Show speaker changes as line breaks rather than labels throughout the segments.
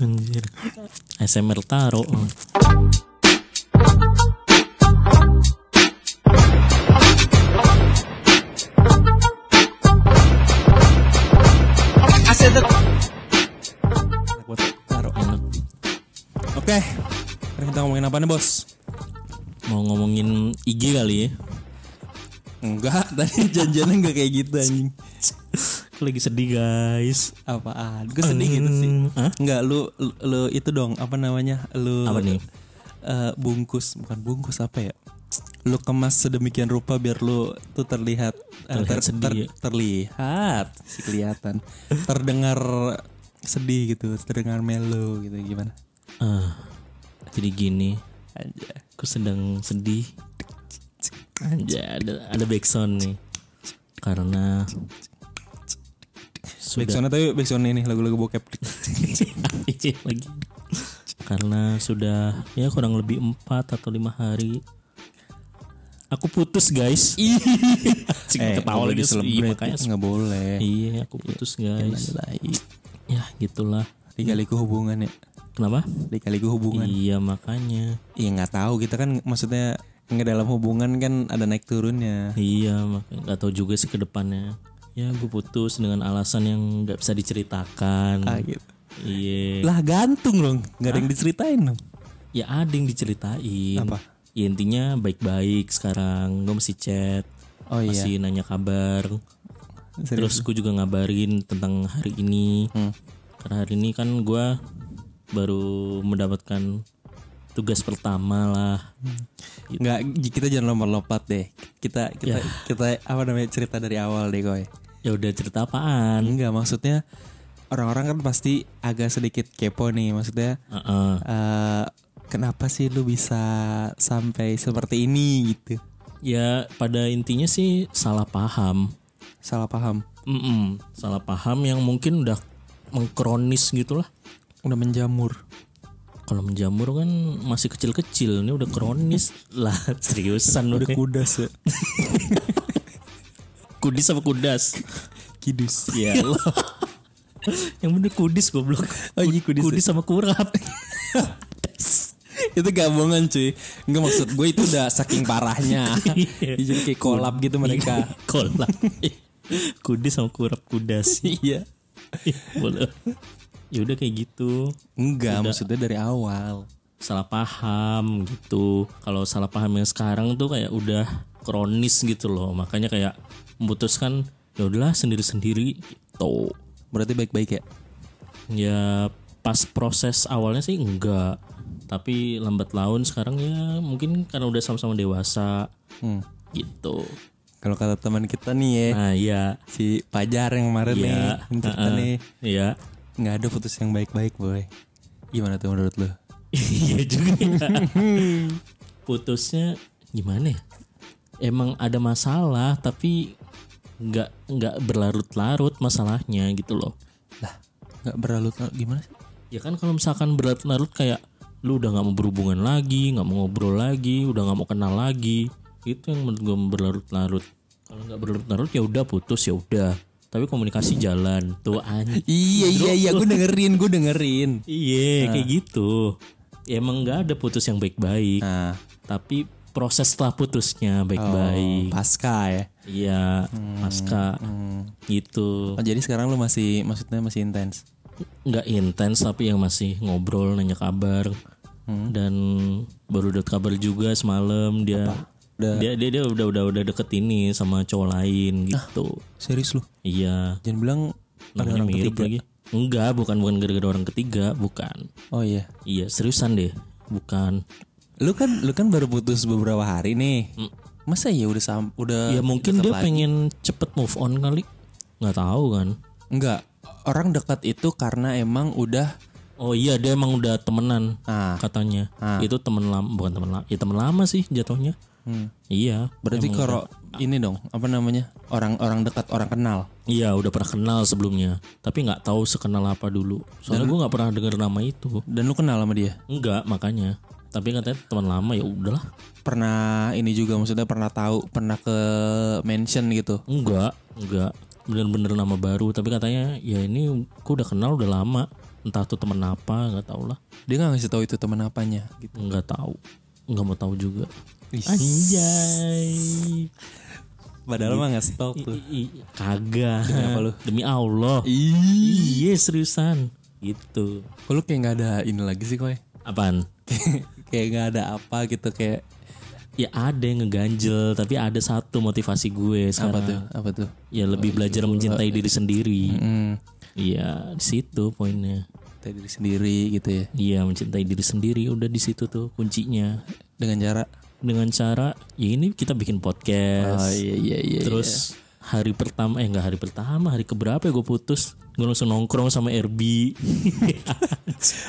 Anjir. ASMR taro.
I said that
Enak buat taruh.
Enak.
Oke. Hari kita ngomongin apa nih bos?
Mau ngomongin IG kali ya.
Enggak, tadi janjiannya enggak kayak gitu anjing.
Aku lagi sedih guys. Hmm.
Apaan? Gue sedih gitu sih.
Hah?
Enggak, lu, lu lu itu dong apa namanya? Lu
Apa nih?
eh, bungkus, bukan bungkus apa ya? Lu kemas sedemikian rupa biar lu tuh terlihat eh,
Terlihat sedih ya?
terlihat sih kelihatan. terdengar sedih gitu, terdengar melo gitu gimana?
Ah, jadi gini,
Aja.
aku sedang sedih. Aja ada ada backsound nih. Karena sudah
Backsound tapi backsound ini lagu-lagu bokep.
Icip lagi karena sudah ya kurang lebih empat atau lima hari aku putus guys Ih,
eh,
ketawa lagi sedih, Eh, makanya
Enggak boleh.
iya aku putus guys ya gitulah
Dikaliku hubungan ya.
kenapa
Dikaliku hubungan.
iya makanya
Iya nggak tahu kita kan maksudnya nggak dalam hubungan kan ada naik turunnya.
iya makanya nggak tahu juga sih ke depannya ya gue putus dengan alasan yang nggak bisa diceritakan
Ah, gitu.
iya
Lah gantung dong, nggak ada yang diceritain dong.
ya ada yang diceritain
Apa?
ya intinya baik-baik sekarang gue masih chat
Oh iya.
masih nanya kabar
Serius.
terus gue juga ngabarin tentang hari ini
Hmm.
karena hari ini kan gue baru mendapatkan tugas pertama lah
Hmm. nggak kita jangan lompat-lompat deh. Kita kita kita apa namanya cerita dari awal deh koy.
ya udah cerita apaan
Enggak maksudnya orang-orang kan pasti agak sedikit kepo nih maksudnya.
Heeh.
eh, kenapa sih lu bisa sampai seperti ini gitu?
ya pada intinya sih salah paham
Salah paham.
Mm-mm, salah paham yang mungkin udah mengkronis gitulah
Udah menjamur.
kalau menjamur kan masih kecil-kecil ini udah kronis lah seriusan udah
Udah kudas ya.
kudis sama kudas
Kidus.
ya Allah. yang bener kudis goblok
Oh iya kudis.
kudis sama kurap
itu gabungan cuy Enggak maksud gue itu udah saking parahnya
Iya.
Jadi kayak kolab gitu mereka
kolak kudis sama kurap kudas
Iya
Ih, boleh ya udah kayak gitu
Enggak maksudnya dari awal
salah paham gitu kalau salah paham yang sekarang tuh kayak udah kronis gitu loh makanya kayak memutuskan ya udahlah sendiri sendiri gitu
Berarti baik-baik ya
ya pas proses awalnya sih enggak tapi lambat laun sekarang ya mungkin karena udah sama-sama dewasa
Hmm.
gitu
Kalau kata teman kita nih ya
nah ya
Si Pajar yang kemarin nih
ya
yang Cerita
heeh,
nih
ya
Enggak ada putus yang baik-baik boy Gimana tuh menurut lu?
iya juga putusnya gimana ya emang ada masalah tapi nggak nggak berlarut-larut masalahnya gitu loh
Lah Enggak berlalu gimana sih?
ya kan kalau misalkan berlarut-larut kayak lu udah nggak mau berhubungan lagi nggak mau ngobrol lagi udah nggak mau kenal lagi itu yang menurut gue berlarut-larut kalau nggak berlarut-larut ya udah putus ya udah tapi komunikasi jalan tuh anjing
Iya iya iya gue dengerin gue dengerin Ah.
iya kayak gitu ya, emang nggak ada putus yang baik-baik
Nah
tapi proses setelah putusnya baik-baik
Pasca ya
iya
Hmm,
pasca gitu
oh, Jadi sekarang lu masih maksudnya masih intens
nggak intens tapi yang masih ngobrol nanya kabar
Hmm.
dan baru dapat kabar juga semalam dia dia dia dia udah udah udah deket ini sama cowok lain gitu
Serius lu?
iya
Jangan bilang Ah.
namanya
ada orang
mirip lagi
ketiga.
enggak bukan bukan gara-gara orang ketiga bukan
Oh iya.
iya seriusan deh bukan
Lu kan lu kan baru putus beberapa hari nih. Masa ya udah sam udah
ya mungkin dia pengen cepet move on kali nggak tahu kan
enggak. Orang dekat itu karena emang udah
oh iya dia emang udah temenan
ah
katanya itu temen lama bukan temen lama ya temen lama sih jatuhnya iya
hmm, berarti kalau ini dong apa namanya orang-orang dekat orang kenal
Iya udah pernah kenal sebelumnya Tapi nggak tahu sekenal apa dulu Soalnya gue nggak pernah dengar nama itu
dan lu kenal sama dia
Enggak makanya Tapi katanya teman lama ya udahlah
pernah ini juga maksudnya pernah tahu pernah ke mention gitu
Enggak Enggak Bener-bener nama baru Tapi katanya ya ini gue udah kenal udah lama entah tuh temen apa nggak tahu lah
Dia nggak ngasih tahu itu teman apanya gitu.
nggak tahu nggak mau tahu juga
Ih,
anjay
Padahal mah nggak stok
I-
tuh.
i- kagak demi Allah
Ih,
iya seriusan gitu
kok lu kayak nggak ada ini lagi sih koy?
apaan
Kayak- kayak nggak ada apa gitu kayak
ya ada yang ngeganjel tapi ada satu motivasi gue
apa
sekarang
tuh? Apa tuh?
ya lebih belajar mencintai diri sendiri
Hmm,
iya di situ poinnya
kita diri sendiri gitu ya.
iya mencintai diri sendiri udah di situ tuh kuncinya
Dengan cara
dengan cara ya ini kita bikin podcast
iya iya iya.
terus hari pertama eh nggak hari pertama hari keberapa ya gue putus gue langsung nongkrong sama RB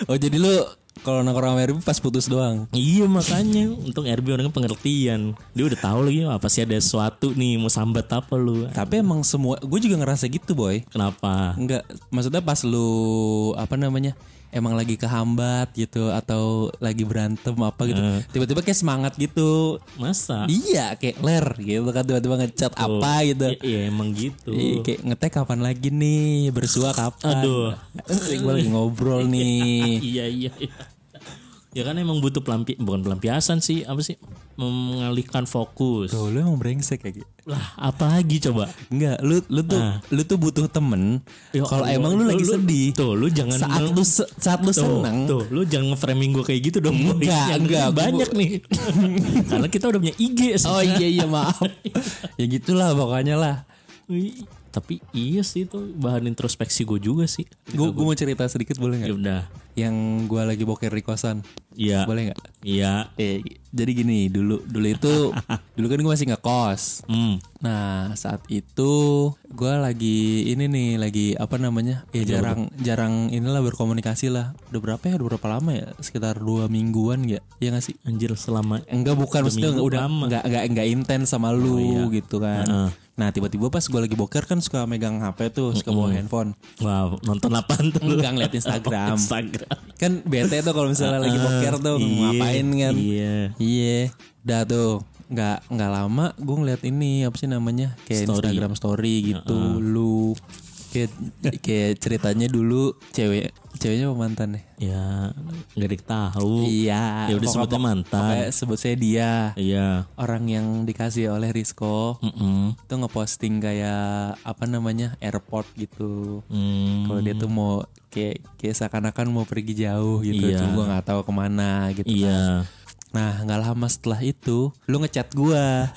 Oh jadi lu kalau nongkrong sama Erwin pas putus doang.
Iya makanya Untung RB orangnya pengertian Dia udah tahu lagi apa sih ada sesuatu nih Mau sambat apa lu
Tapi emang semua gue juga ngerasa gitu boy.
Kenapa
Enggak, maksudnya pas lu apa namanya? Emang lagi kehambat gitu atau lagi berantem apa gitu. Tiba-tiba kayak semangat gitu.
Masa
Iya, kayak ler gitu kan tiba-tiba ngecat apa gitu.
Ya, ya emang gitu
Iya, kayak ngetek kapan lagi nih? Bersua kapan?
Aduh.
gue lagi ngobrol nih.
Iya iya iya Ya kan emang butuh pelampi Bukan pelampiasan sih Apa sih Mengalihkan fokus
Tuh, lu emang brengsek kayak gitu.
Lah apa lagi coba
Enggak, lu lu tuh lu tuh butuh temen.
Ya
Kalau
Allah,
emang lu, lagi sedih,
Tuh lu jangan
saat lu se- saat lu
Tuh,
seneng,
Tuh, lu jangan nge-framing gue kayak gitu dong. Boy.
Enggak,
Yang
enggak, gua-
Banyak nih. Karena kita udah punya IG.
Oh iya iya maaf. ya gitulah pokoknya lah.
Wih, Tapi iya sih itu bahan introspeksi gue juga sih.
Gue mau cerita sedikit boleh
Ya
nggak?
udah.
Yang gue lagi boker di kosan.
Iya.
Boleh nggak?
Iya.
Eh, jadi gini dulu dulu itu dulu kan gue masih ngekos.
Hmm.
Nah saat itu gue lagi ini nih lagi apa namanya? Ya jarang jarang inilah berkomunikasi lah. Udah berapa ya? Udah berapa lama ya? Sekitar dua mingguan ya? Ya nggak sih?
Anjir selama
Enggak bukan maksudnya
minggu
udah
lama. Oh, iya.
enggak enggak enggak intens sama lu gitu kan. Nah, tiba-tiba pas gue lagi boker kan suka megang HP tuh, suka bawa handphone.
wow, nonton apaan tuh? lu?
Enggak ngeliat Instagram.
Instagram.
kan bete tuh kalau misalnya lagi boker
Iya,
tuh ngapain kan.
Iya.
Iya. Udah tuh nggak nggak lama gue ngeliat ini apa sih namanya kayak Instagram story gitu lu kayak kayak ceritanya dulu cewek ceweknya apa mantan ya
Ya nggak ada yang tahu.
iya
Ya udah sebutnya mantan.
kayak sebut saya dia
Iya.
orang yang dikasih oleh Risco
Mm-mm.
itu ngeposting kayak apa namanya airport gitu
Hmm.
kalau dia tuh mau kayak kayak seakan-akan mau pergi jauh gitu
Iya.
cuma gue nggak tahu kemana gitu
Iya.
nah nggak lama setelah itu lu ngechat gua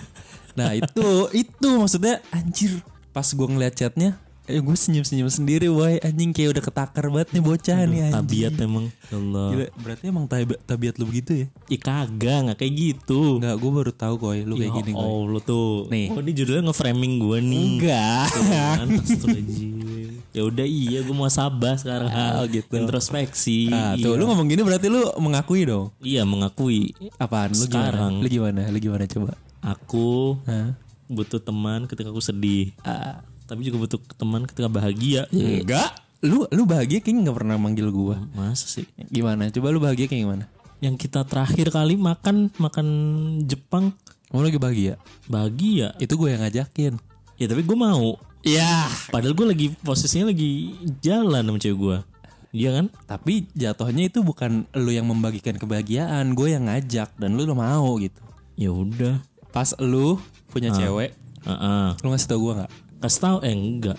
nah itu itu maksudnya anjir pas gua ngeliat chatnya eh gue senyum-senyum sendiri woi anjing kayak udah ketakar banget nih bocah nih Iya, anjing
Tabiat emang. Ya Allah.
Gila, berarti emang tabi- tabiat lu begitu ya
Ih kagak nggak kayak gitu.
Enggak, gue baru tahu koi lu kayak gini
oh,
koi
lu tuh.
Nih.
Oh, ini judulnya nge-framing gue nih.
enggak
Kan, astagfirullahaladzim. ya udah iya gue mau sabah sekarang
Oh, gitu.
introspeksi
Nah,
iya.
tuh lu ngomong gini berarti lu mengakui dong.
Iya, mengakui
Apaan lu
Sekarang.
gimana? Lu gimana? Lu gimana coba?
aku
Hah?
butuh teman ketika aku sedih
Ah.
tapi juga butuh teman ketika bahagia
Enggak. Lu lu bahagia kayaknya nggak pernah manggil gua.
masa sih
Gimana? Coba lu bahagia kayak gimana?
yang kita terakhir kali makan makan Jepang
Kamu lagi bahagia?
bahagia
Itu gue yang ngajakin.
ya tapi gue mau
Ya.
padahal gue lagi posisinya lagi jalan sama cewek gue Iya kan
Tapi jatuhnya itu bukan lu yang membagikan kebahagiaan, gue yang ngajak dan lu mau gitu.
ya udah
Pas lu punya cewek,
Heeh.
lu ngasih tau gue nggak?
kasih tahu eh enggak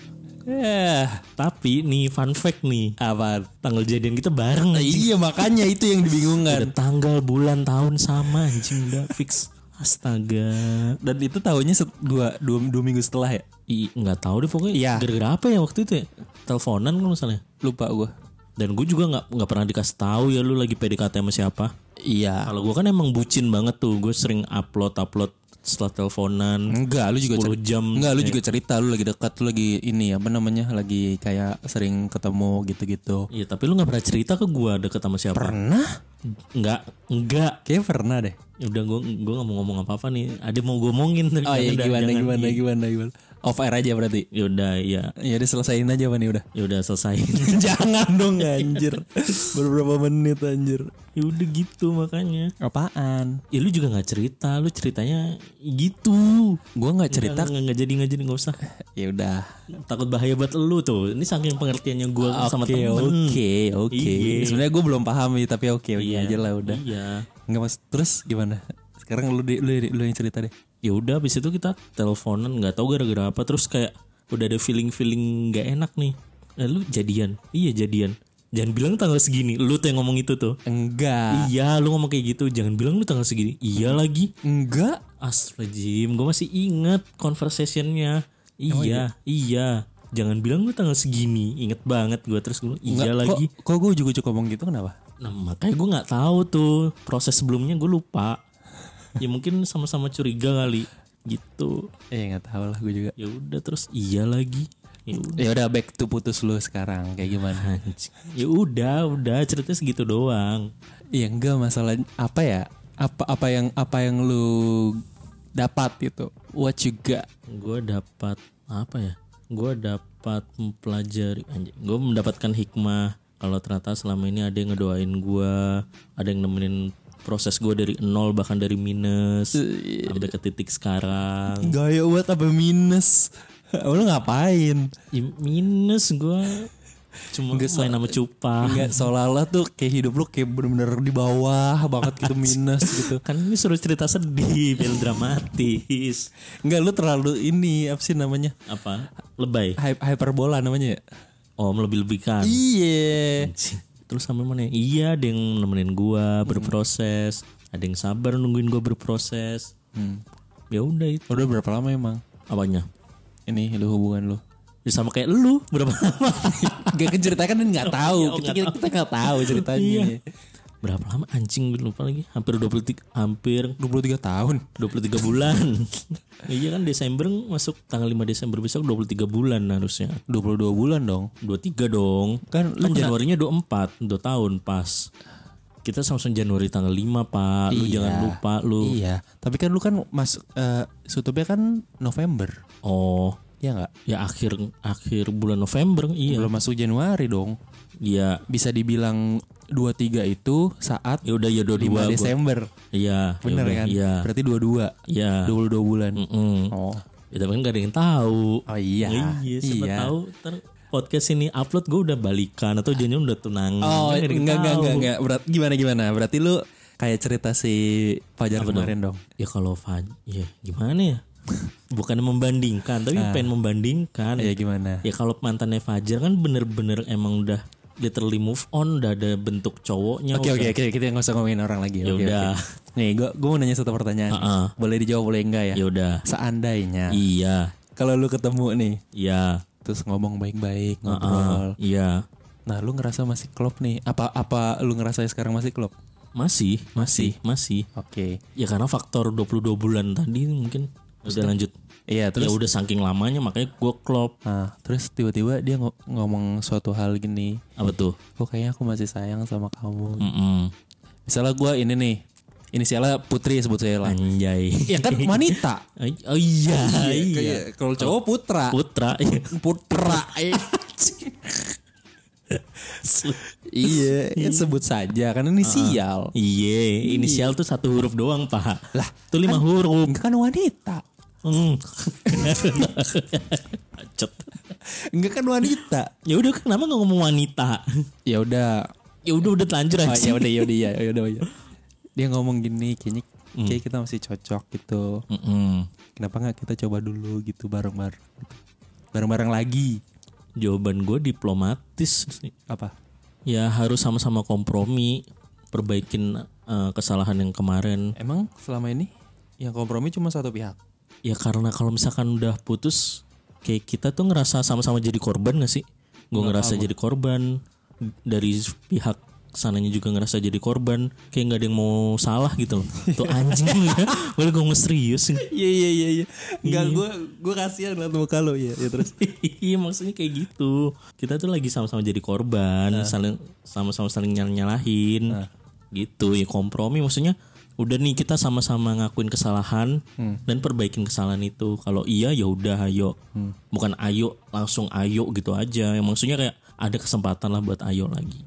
Eh,
tapi nih fun fact nih
apa?
tanggal jadian kita bareng anjing.
Iya makanya itu yang dibingungkan.
Ada tanggal, bulan, tahun sama anjing udah fix. Astaga.
Dan itu tahunya set, dua, dua, dua minggu setelah ya?
I nggak tahu deh pokoknya.
Iya.
Gara-gara apa ya waktu itu ya? Teleponan kan misalnya.
Lupa gue.
Dan gue juga nggak nggak pernah dikasih tahu ya lu lagi PDKT sama siapa.
Iya.
Kalau gue kan emang bucin banget tuh. Gue sering upload upload setelah teleponan.
Enggak, lu juga
10 jam.
Enggak, lu juga cerita lu lagi dekat, lu lagi ini apa namanya? Lagi kayak sering ketemu gitu-gitu.
Iya tapi lu nggak pernah cerita ke gue deket sama siapa.
Pernah?
Enggak enggak.
Kayaknya pernah deh.
Ya Udah gue gue nggak mau ngomong apa apa nih. Ada yang mau gue omongin tapi
Oh iya,
jangan dah,
gimana
jangan.
gimana gimana gimana. Off air aja berarti.
Ya udah ya
Ya udah selesain aja apa nih udah.
ya udah selesai.
Jangan dong anjir. Baru berapa menit anjir.
ya udah gitu makanya.
Apaan?
Ya lu juga nggak cerita, lu ceritanya gitu
Gue nggak cerita.
Nggak- nggak nggak jadi nggak jadi nggak usah
Ya udah.
takut bahaya buat lu tuh ini saking pengertiannya gue sama
Oke
temen
oke oke.
Iya.
Sebenarnya gue belum paham ya tapi oke oke
Iya.
aja lah udah.
iya
Nggak mas. Terus gimana? Sekarang lu di- lu, lu yang cerita deh.
ya udah abis itu kita teleponan nggak tahu gara-gara apa terus kayak udah ada feeling feeling nggak enak nih lalu jadian iya jadian jangan bilang tanggal segini lu tuh yang ngomong itu tuh
Enggak.
iya lu ngomong kayak gitu jangan bilang lu tanggal segini iya lagi
Enggak.
Astagfirullahaladzim, gue masih inget conversationnya. Iya, iya. Jangan bilang lu tanggal segini, inget banget gue terus gue iya
Enggak.
lagi.
Kok, kok gue ujuk-ujuk ngomong gitu kenapa?
Nah makanya gue nggak tahu tuh proses sebelumnya gue lupa. ya mungkin sama-sama curiga kali gitu.
Eh nggak tahu lah gue juga.
Ya udah terus iya lagi. Ya udah.
Ya udah back to putus lu sekarang kayak gimana?
anjing. Ya udah, udah ceritanya segitu doang.
Iya enggak masalah apa ya? Apa apa yang apa yang lu dapat itu? What you got?
Gue dapat apa ya? Gue dapat mempelajari, gue mendapatkan hikmah kalau ternyata selama ini ada yang ngedoain gue, ada yang nemenin proses gue dari nol bahkan dari minus sampai ke titik sekarang.
Gaya buat apa minus? lu ngapain?
Ya, minus gue cuma main sama cupang.
Enggak seolah-olah tuh kayak hidup lu kayak bener-bener di bawah banget gitu minus gitu.
Kan ini suruh cerita sedih, biar dramatis.
Enggak lu terlalu ini apa sih namanya?
Apa? Lebay.
Hy- hyperbola namanya ya?
Oh, melebih-lebihkan.
Iya.
Anjing. Terus sampai mana? ya? Iya, ada yang nemenin gua berproses, ada yang sabar nungguin gua berproses. Ya udah itu.
Hmm. Udah berapa lama emang?
Apanya?
Ini lu hubungan lu.
Ya sama kayak lu berapa lama?
Gak kan ceritanya kan
Oh,
nggak tahu.
iya,
Kita kita- kita nggak tahu ceritanya.
berapa lama anjing gue lupa lagi? Hampir 23 hampir
23 tahun.
23 bulan. iya kan Desember masuk tanggal 5 Desember besok 23 bulan harusnya.
22 bulan dong.
23 dong.
Kan lu kena-
Januarinya 24, 2 tahun pas. Kita langsung Januari tanggal 5, Pak. Lu
Iya.
jangan lupa lu.
Iya, tapi kan lu kan masuk eh sutupnya kan November.
Oh,
Ya enggak?
Ya akhir akhir bulan November iya.
Belum masuk Januari dong.
Iya.
Bisa dibilang 23 itu saat
Ya udah ya
5
22 gua.
Desember.
Iya.
Bener
yaudah,
kan?
Iya.
Berarti 22.
Iya.
22 bulan.
Mm.
Oh.
Ya tapi kan gak ada yang tahu.
Oh iya. Ah.
Iya, siapa tahu ntar podcast ini upload gue udah balikan atau jangan udah tunangan.
Oh,
Kan nggak ada yang
enggak enggak
tahu.
enggak enggak. Berat gimana gimana? Berarti lu kayak cerita si Fajar kemarin dong.
Ya kalau Faj, ya gimana ya? Bukan membandingkan, tapi
Ah.
pengen membandingkan.
Ya gimana?
Ya kalau mantannya Fajar kan bener-bener emang udah literally move on, udah ada bentuk cowoknya.
Oke oke oke kita nggak usah Ya ngomongin orang lagi. Oke, oke.
udah.
Nih gua gua mau nanya satu pertanyaan.
Ah,
Boleh dijawab boleh enggak ya?
Ya udah.
Seandainya
Iya.
kalau lu ketemu nih
Iya.
terus ngomong baik-baik
Ah,
ngobrol.
Iya.
Nah, lu ngerasa masih klop nih? Apa apa lu ngerasa ya sekarang masih klop?
Masih, masih, masih.
Oke.
Ya karena faktor 22 bulan tadi mungkin udah lanjut.
Iya,
Ya
terus
udah saking lamanya makanya gue klop.
Nah, terus tiba-tiba dia ngo- ngomong suatu hal gini,
Apa tuh?
"Kok kayaknya aku masih sayang sama kamu."
Mm-mm.
Misalnya gua ini nih, inisialnya Putri sebut saya lah.
Anjay.
Ya kan wanita.
Iya Ay- Oh iya, iya.
Kayak Kalau cowok Putra.
Putra.
Putra. eh. iya, kan sebut saja karena inisial.
Iya, inisial tuh satu huruf doang, Pak. Lah, tuh lima huruf.
Enggak kan wanita.
Mm. Cet.
Enggak kan wanita.
ya udah kenapa nggak ngomong wanita?
Ya udah,
Ya udah udah telanjur
Oh, ya
aja.
udah ya udah ya ya udah ya. Dia ngomong gini kayaknya kayak kita masih cocok gitu.
Mm-mm.
Kenapa nggak kita coba dulu gitu bareng-bareng gitu. Bareng-bareng lagi.
Jawaban gue diplomatis sih.
Apa?
Ya harus sama-sama kompromi, perbaikin eh, kesalahan yang kemarin.
Emang selama ini yang kompromi cuma satu pihak.
Ya karena kalau misalkan udah putus, kayak kita tuh ngerasa sama-sama jadi korban gak sih? Gue ngerasa jadi korban dari pihak sananya juga ngerasa jadi korban kayak nggak ada yang mau salah gitu loh tuh anjing lu ya boleh gue serius
Iya iya iya iya. Enggak gua gua kasihan liat muka lo ya. Ya terus.
iya maksudnya kayak gitu kita tuh lagi sama-sama jadi
Nah.
korban saling sama-sama saling nyal nyalahin gitu ya kompromi maksudnya udah nih kita sama-sama ngakuin kesalahan
Hmm.
dan perbaikin kesalahan
Hmm.
itu kalau iya ya udah ayo bukan ayo langsung ayo gitu aja yang maksudnya kayak ada kesempatan lah buat ayo lagi.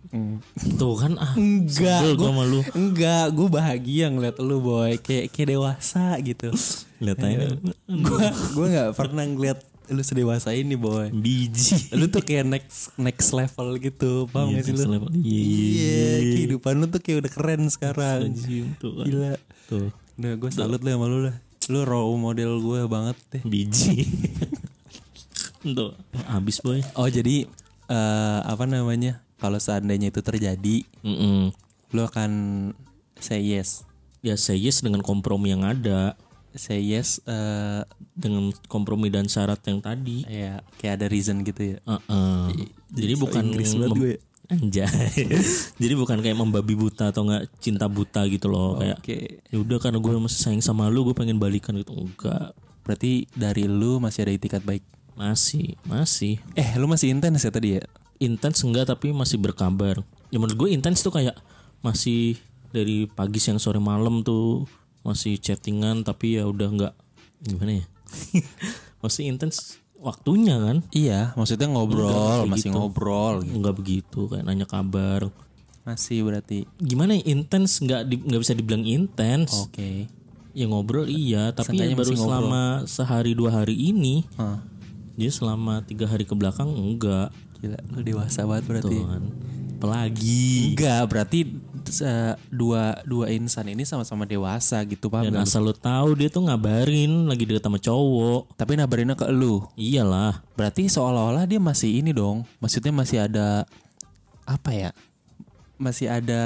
Tuh kan ah.
Hmm. Enggak,
sebel
gua-
gua sama lu.
Enggak, gue bahagia ngeliat lu boy Kayak, kayak dewasa gitu
Lihat aja
Gue gua gak pernah ngeliat lu sedewasa ini boy
biji.
Lu tuh kayak next next level gitu Paham
Iya,
gak sih
next
lu?
level. Iya,
Iya, kehidupan lu tuh kayak udah keren sekarang
Anjing, tuh kan.
Gila
Tuh,
Nah gue salut lah sama lu lah Lu role model gue banget deh
biji. Tuh, habis boy.
Oh jadi eh, Apa namanya Kalau seandainya itu terjadi
Mm-mm.
Lu akan say yes
Ya saya yes dengan kompromi yang ada,
Say yes eh,
dengan kompromi dan syarat yang tadi.
Ya kayak ada reason gitu ya
Heeh. Jadi bukan
Inggris banget
mem-
gue.
Anjay. Jadi bukan kayak membabi buta atau enggak cinta buta gitu loh kayak
Oke
ya udah karena gue masih sayang sama lu gue pengen balikan gitu enggak
Berarti dari lu masih ada itikat baik.
masih masih
Eh, lu masih intens ya tadi ya?
intens enggak tapi masih berkabar ya menurut gue intens tuh kayak masih dari pagi siang sore malam tuh masih chattingan tapi ya udah enggak gimana ya masih intens waktunya kan
Iya, gitu. maksudnya ngobrol, masih ngobrol.
enggak begitu kayak nanya kabar
Masih berarti.
gimana ya, intens nggak di- nggak bisa dibilang intens
Oke.
ya ngobrol iya tapi ya
Oh. Seenggaknya
baru
masih ngobrol.
selama sehari dua hari ini
Hah,
jadi selama tiga hari ke belakang enggak
gila, lu dewasa banget berarti.
kan pelagi
Enggak, berarti eh, dua dua insan ini sama-sama dewasa gitu, paham
dan
nggak?
asal lo tahu dia tuh ngabarin lagi deket sama cowok
Tapi nabarinnya ke lu.
iyalah
Berarti seolah-olah dia masih ini dong. Maksudnya masih ada apa ya? Masih ada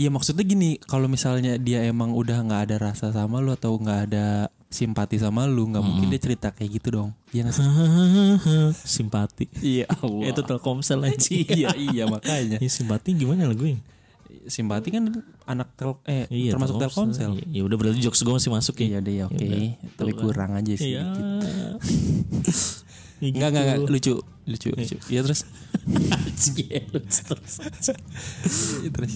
Ya maksudnya gini, kalau misalnya dia emang udah nggak ada rasa sama lu atau nggak ada simpati sama lu, nggak mungkin dia cerita kayak gitu dong. Iya nggak sih?
simpati
Iya,
itu telkomsel aja
iya, iya makanya.
ya, simpati gimana lah gue
Simpati kan anak tel eh
Iya,
termasuk Telkomsel.
ya udah berarti jokes gue masih masuk ya
Iya deh, ya, oke. Tapi kurang aja sih.
iya
dikit.
Ya
Nggak, nggak, nggak,
gitu.
lucu, lucu, lucu. Iya terus,
Iya, terus, terus aja.
Iya, terus.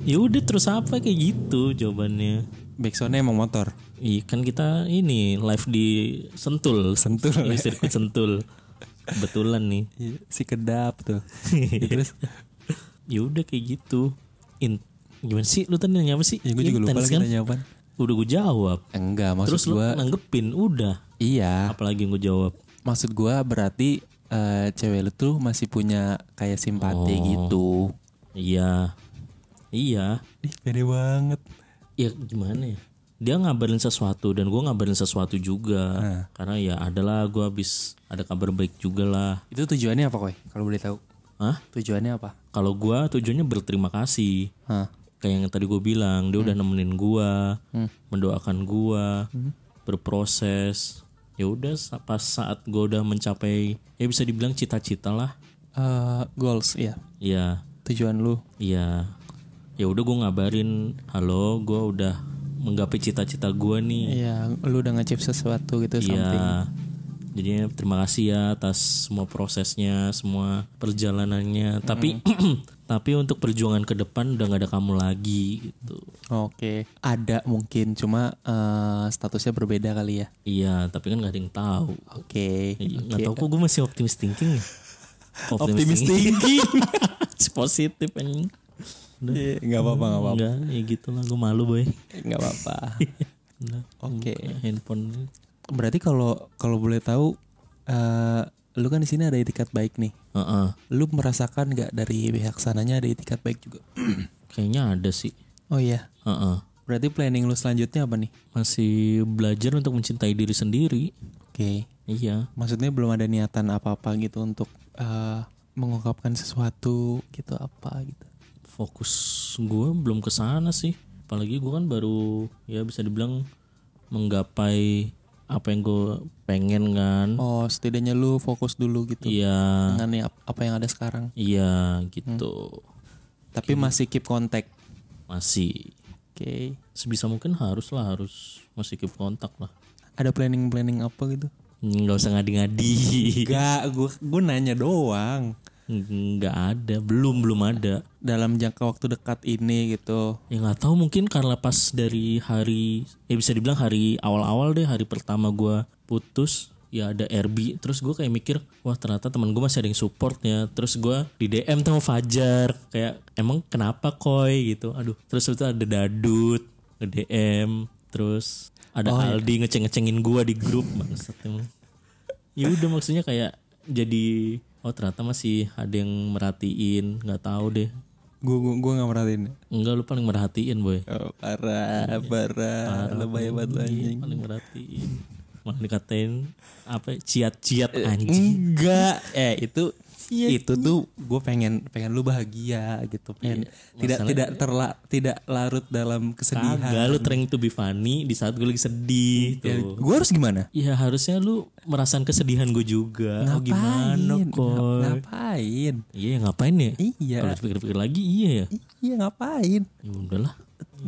ya udah terus apa kayak gitu jawabannya
Backsoundnya emang motor.
Iya kan kita ini live di Sentul, Sentul, di
ya.
sirkuit Sentul. Kebetulan nih.
Iya, si kedap tuh. Ya, terus
ya udah kayak gitu. In- gimana sih lu tadi nanya apa sih?
ya gue juga lupa
Intens
lagi
kan?
nanya apaan.
Udah gue jawab.
Enggak, maksud
Terus lu
gua
nanggepin udah.
iya.
Apalagi yang gue jawab.
Maksud gua berarti eh, cewek lu tuh masih punya kayak simpati
Oh.
gitu.
Iya. Iya.
Ih, pede banget.
Ya gimana ya? Dia ngabarin sesuatu dan gue ngabarin sesuatu juga. Karena ya adalah gue habis ada kabar baik juga lah.
Itu tujuannya apa, Koy? Kalau boleh tahu.
Hah?
Tujuannya apa?
Kalau gue tujuannya berterima kasih.
Hah.
kayak yang tadi gue bilang dia udah nemenin gua mendoakan gua berproses ya udah sa- pas saat gua udah mencapai ya bisa dibilang cita-cita lah
Eh, goals, ya.
ya
Tujuan lu.
ya ya udah gue ngabarin halo gua udah menggapai cita-cita gua nih
Iya, lu udah ngecip sesuatu gitu something.
ya jadinya terima kasih ya atas semua prosesnya semua perjalanannya tapi tapi untuk perjuangan ke depan udah gak ada kamu lagi gitu
Oke. Ada mungkin cuma eh, statusnya berbeda kali ya.
iya tapi kan gak ada yang tahu Iya,
Oke.
Nggak tahu kok gue masih optimis thinking ya.
Optimis
thinking. Positif anjing.
Iya, Nggak apa-apa, nggak apa-apa.
Enggak, ya gitu lah gue malu boy.
Nggak apa-apa.
Nah,
Oke.
handphone
Berarti kalau kalau boleh tahu eh lu kan di sini ada etikat baik nih.
Heeh.
Lu merasakan nggak dari pihak sananya ada etikat baik juga?
Kayaknya ada sih.
Oh iya.
Heeh.
Berarti planning lu selanjutnya apa nih?
Masih belajar untuk mencintai diri sendiri.
Oke.
Iya.
Maksudnya belum ada niatan apa-apa gitu untuk eh, mengungkapkan sesuatu gitu apa gitu.
Fokus gue belum ke sana sih. Apalagi gue kan baru ya bisa dibilang menggapai apa yang gue pengen kan.
Oh, setidaknya lu fokus dulu gitu Hmm.
Iya.
dengan yang- apa yang ada sekarang.
Iya gitu.
Tapi masih keep contact.
Masih
Oke.
sebisa mungkin harus lah harus masih keep kontak lah
Ada planning-planning apa gitu?
nggak usah ngadi-ngadi
Enggak, Iya, gua gua nanya doang.
nggak ada belum belum ada
Dalam jangka waktu dekat ini gitu.
ya nggak tahu mungkin karena pas dari hari ya bisa dibilang hari awal-awal deh hari pertama gua putus ya ada RB terus gue kayak mikir wah ternyata teman gue masih ada yang supportnya terus gue di DM sama Fajar kayak emang kenapa koi gitu aduh terus itu ada Dadut nge DM terus ada Aldi ngeceng-ngecengin gue di grup bangsat emang ya udah maksudnya kayak jadi oh ternyata masih ada yang merhatiin nggak tahu deh
Gue gue gue nggak merhatiin.
enggak lu paling merhatiin boy Iya.
Oh, parah, parah, lebay banget lu anjing.
paling merhatiin malah dikatain apa ciat-ciat
Eh,
anjing
iya. Enggak, eh itu
Iya
itu tuh gue pengen pengen lu bahagia gitu
Iya,
pengen tidak tidak terla tidak larut dalam kesedihan
Kagak lu trying to be funny di saat gue lagi
Iya,
sedih tuh.
gue harus gimana
Ya harusnya lu merasakan kesedihan gue juga. Oh gimana
Ngapain?
kok?
ngapain
Iya ngapain ya?
iya
Kalau dipikir-pikir lagi iya ya.
iya ngapain
Ya udahlah.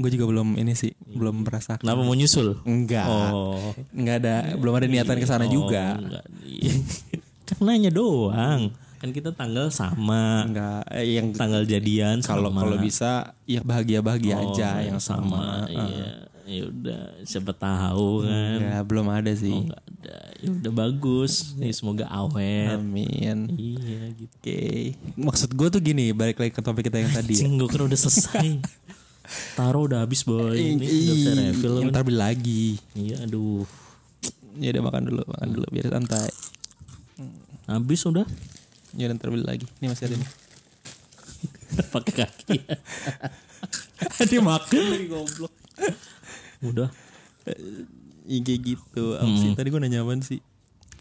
gue juga belum ini sih belum merasakan
Kenapa mau nyusul?
enggak
Iya. Oh. iya,
enggak ada belum ada niatan ke sana juga
Enggak. Iya. kan nanya doang. Kan kita tanggal sama.
enggak eh, yang
Tanggal jadian
kalau
sama.
kalau bisa ya bahagia bahagia
Oh,
aja yang sama Ah.
Iya. Ya udah siapa tahu kan.
enggak belum ada sih
Enggak ada. Ya udah bagus. Nih semoga awet.
amin
Iya gitu.
Oke, maksud gue tuh gini, balik lagi ke topik kita yang tadi. ya.
Cing, gue kira kan udah selesai. Taro udah habis boy. Iya, Ini udah bisa refill. kan.
Ih, Ntar beli lagi.
Iya, aduh.
Ya udah makan dulu, makan dulu biar santai.
Habis udah.
Ya udah ntar beli lagi. Ini masih ada nih.
Pakai kaki. Dia makan lagi goblok. Udah,
Iya kayak gitu. Apa
Hmm.
sih? Tadi gue nanya apaan sih?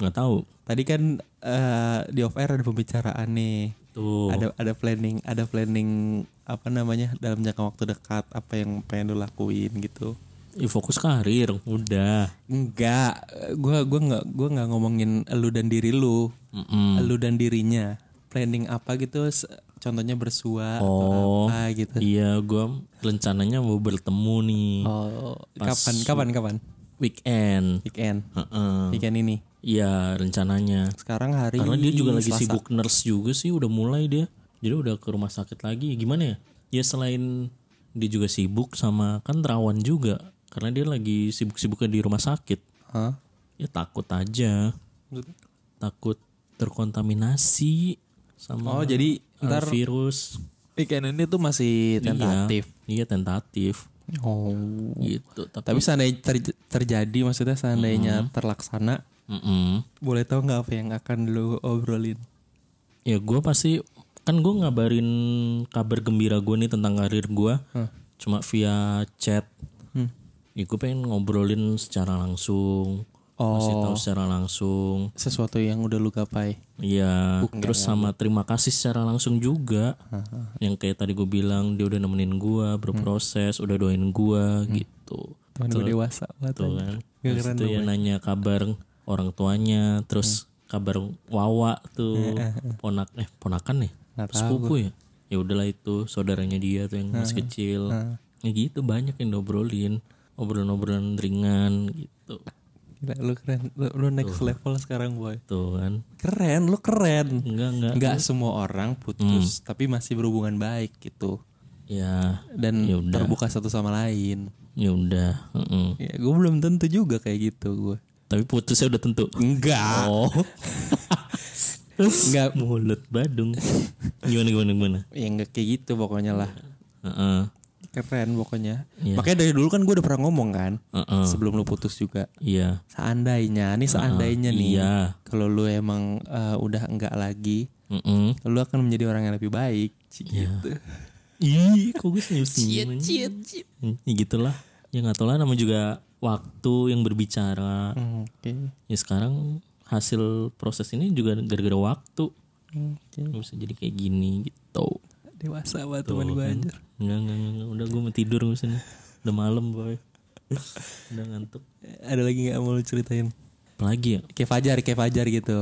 nggak tahu.
Tadi kan eh, di off air ada pembicaraan nih.
Tuh.
Ada ada planning, ada planning apa namanya dalam jangka waktu dekat apa yang pengen lo lakuin gitu.
Ya, fokus karir, udah.
Enggak, gua gua nggak gua nggak ngomongin lu dan diri lu.
Mm-mm.
Lu dan dirinya. Planning apa gitu se- contohnya bersua atau
Oh.
apa gitu.
Iya, gua rencananya mau bertemu nih
Oh, Iya. kapan kapan kapan?
weekend.
Weekend.
Heeh.
Weekend ini.
Iya, rencananya.
Sekarang hari
Hmm. Karena dia juga lagi sibuk nurse juga sih, udah mulai dia. Jadi udah ke rumah sakit lagi. Gimana ya? Ya selain dia juga sibuk sama kan terawan juga. Karena dia lagi sibuk-sibuknya di rumah sakit.
Hah?
Ya takut aja.
Maksudnya?
Hmm. takut terkontaminasi sama
Oh, jadi
eh, virus
weekend ini tuh masih tentatif.
iya tentatif
Oh.
gitu tapi
Tapi seandainya ter- terjadi maksudnya
Hmm.
seandainya terlaksana,
Mm-mm.
boleh tahu nggak apa yang akan lu obrolin?
ya gue pasti kan gue ngabarin kabar gembira gue nih tentang karir gue cuma via chat ya gue pengen ngobrolin secara langsung kasih tahu secara langsung
Sesuatu yang udah lu gapai.
Iya, terus sama terima kasih secara langsung juga. Yang kayak tadi gue bilang dia udah nemenin gua berproses, udah doain gua gitu.
Teman gue dewasa banget.
Tuh
anjing.
kan. Terus itu ya nanya kabar orang tuanya, terus kabar Wawa tuh ponak eh ponakan nih, sepupu ya. Ya udahlah itu saudaranya dia tuh yang masih kecil. Ya gitu banyak yang diobrolin, obrolan-obrolan ringan gitu.
Gila, lu keren. Lu, lu next level sekarang, boy.
Tuh kan.
Keren, lu keren.
Enggak enggak.
Enggak semua orang putus,
Hmm.
tapi masih berhubungan baik gitu.
Ya,
Dan terbuka satu sama lain.
ya udah. Mm-mm.
Ya, gue belum tentu juga kayak gitu gue.
Tapi putusnya udah tentu.
Enggak.
Oh.
Enggak.
Mulut Badung. Gimana gimana gimana.
Ya enggak kayak gitu pokoknya lah.
Heeh.
Keren pokoknya.
Iya.
Makanya dari dulu kan gue udah pernah ngomong kan.
Heeh.
Sebelum lu putus juga.
Iya.
Seandainya, nih seandainya nih.
Iya.
Kalau lu emang eh, udah enggak lagi,
Heeh.
lu akan menjadi orang yang lebih baik. Ci, Gitu.
Iya. Ih, kok gue senyum senyum. Ya gitulah. Ya nggak tahu lah nama juga waktu yang berbicara.
Hmm, Oke.
Ya sekarang hasil proses ini juga gara-gara waktu.
Oke.
Nggak bisa jadi kayak gini gitu.
Dewasa banget teman gue anjir.
Enggak, enggak, enggak, enggak. Udah gue mau tidur gue sini. Udah malam, boy. Udah ngantuk.
Ada lagi nggak mau lu ceritain?
Apalagi ya?
Kayak Fajar, kayak Fajar gitu.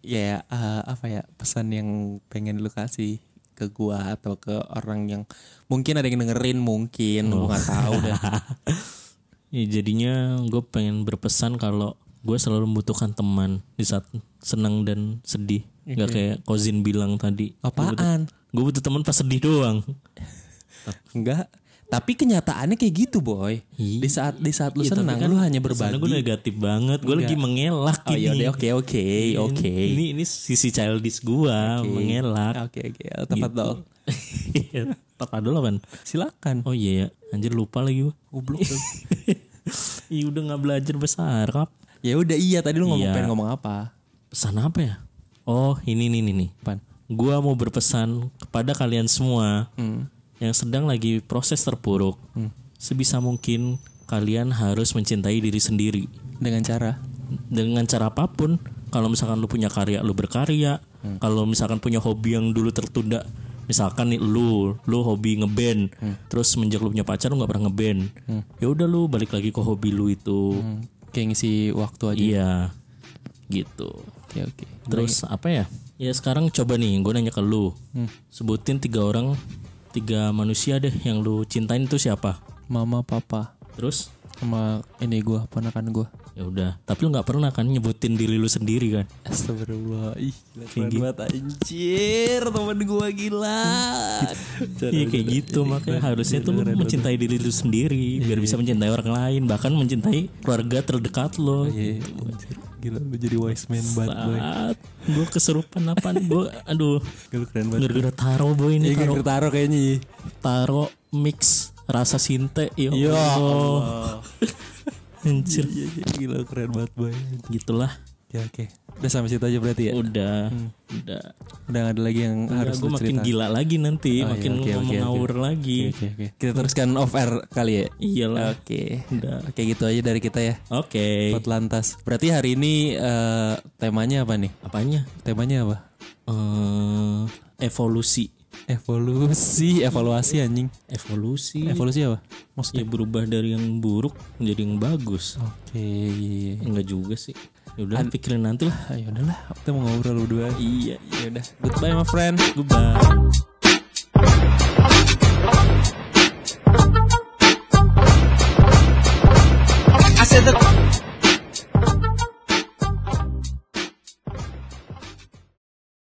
Ya eh, apa ya pesan yang pengen lu kasih ke gua atau ke orang yang mungkin ada yang dengerin mungkin gua nggak tahu dah.
Ya, jadinya gue pengen berpesan kalau gue selalu membutuhkan teman di saat senang dan sedih. Gak kayak Kozin bilang tadi.
Apaan?
Gue butuh teman pas sedih doang.
Enggak. Tapi kenyataannya kayak gitu boy. Di saat di saat lu
Iya, tapi
senang
kan
lu hanya
Karena gue
berbagi.
negatif banget. Gue lagi mengelak
Oh
ini.
ya oke oke oke. Ya.
Ini ini sisi childish gue mengelak. Iya,
Oke oke. Tempat dong.
Tepat dulu apaan?
Silakan.
Oh iya ya. Anjir lupa lagi gue.
Oh, Goblok. lu.
Ih udah nggak belajar besar kap.
ya udah iya tadi lu ngomong
Iya.
pengen ngomong apa?
Pesan apa ya? Oh ini nih nih nih.
Pan.
Gua mau berpesan kepada kalian semua yang sedang lagi proses terpuruk. Sebisa mungkin kalian harus mencintai diri sendiri
Dengan cara
dengan cara apapun. Kalau misalkan lu punya karya, lu berkarya. Kalau misalkan punya hobi yang dulu tertunda, misalkan nih lu, lu hobi ngeband, terus semenjak lu punya pacar lu nggak pernah ngeband. Ya udah lu balik lagi ke hobi lu itu.
Hmm, kayak ngisi waktu aja.
Iya. Gitu.
Oke oke.
Terus apa ya? Ya sekarang coba nih, gue nanya ke lu. Sebutin tiga orang, tiga manusia deh yang lu cintain itu siapa?
Mama papa
Terus
sama ini gua ponakan gua.
ya udah, tapi lu nggak pernah kan nyebutin diri lu sendiri kan?
Astagfirullah Ih gila keren banget Anjir temen gue gila
Iya kayak gitu makanya harusnya tuh lu mencintai diri lu sendiri biar bisa mencintai orang lain bahkan mencintai keluarga terdekat lo.
Anjir, Iya. Gila lu jadi wise man banget boy
Gue keserupan apa nih gue aduh
Gila keren banget
gara-gara taro boy ini
Iya
taro,
taro kayaknya
taro mix rasa sinte ya
Ya
Allah. Anjir
Iya iya, gila keren banget boy
gitulah
Ya oke Udah sampai situ aja berarti ya
udah udah
Udah gak ada lagi yang harus
gue
lu
makin
cerita
gila lagi nanti
Oh, iya,
makin
oke, oke,
ngomong
oke.
ngawur lagi
Oke oke Kita teruskan off air kali ya
iyalah
Oke
udah
Oke gitu aja dari kita ya
oke
Pot lantas Berarti hari ini eh, temanya apa nih?
apanya
Temanya apa?
Eh, evolusi
Evolusi Evaluasi anjing
evolusi
Evolusi Iya. apa? Maksudnya
ya berubah dari yang buruk menjadi yang bagus
Oke, iya, iya.
enggak juga sih Ya udah pikirin nanti lah
Ah, ya udahlah, kita mau ngobrol berdua.
iya
Ya udah, goodbye my friend.
goodbye
I said the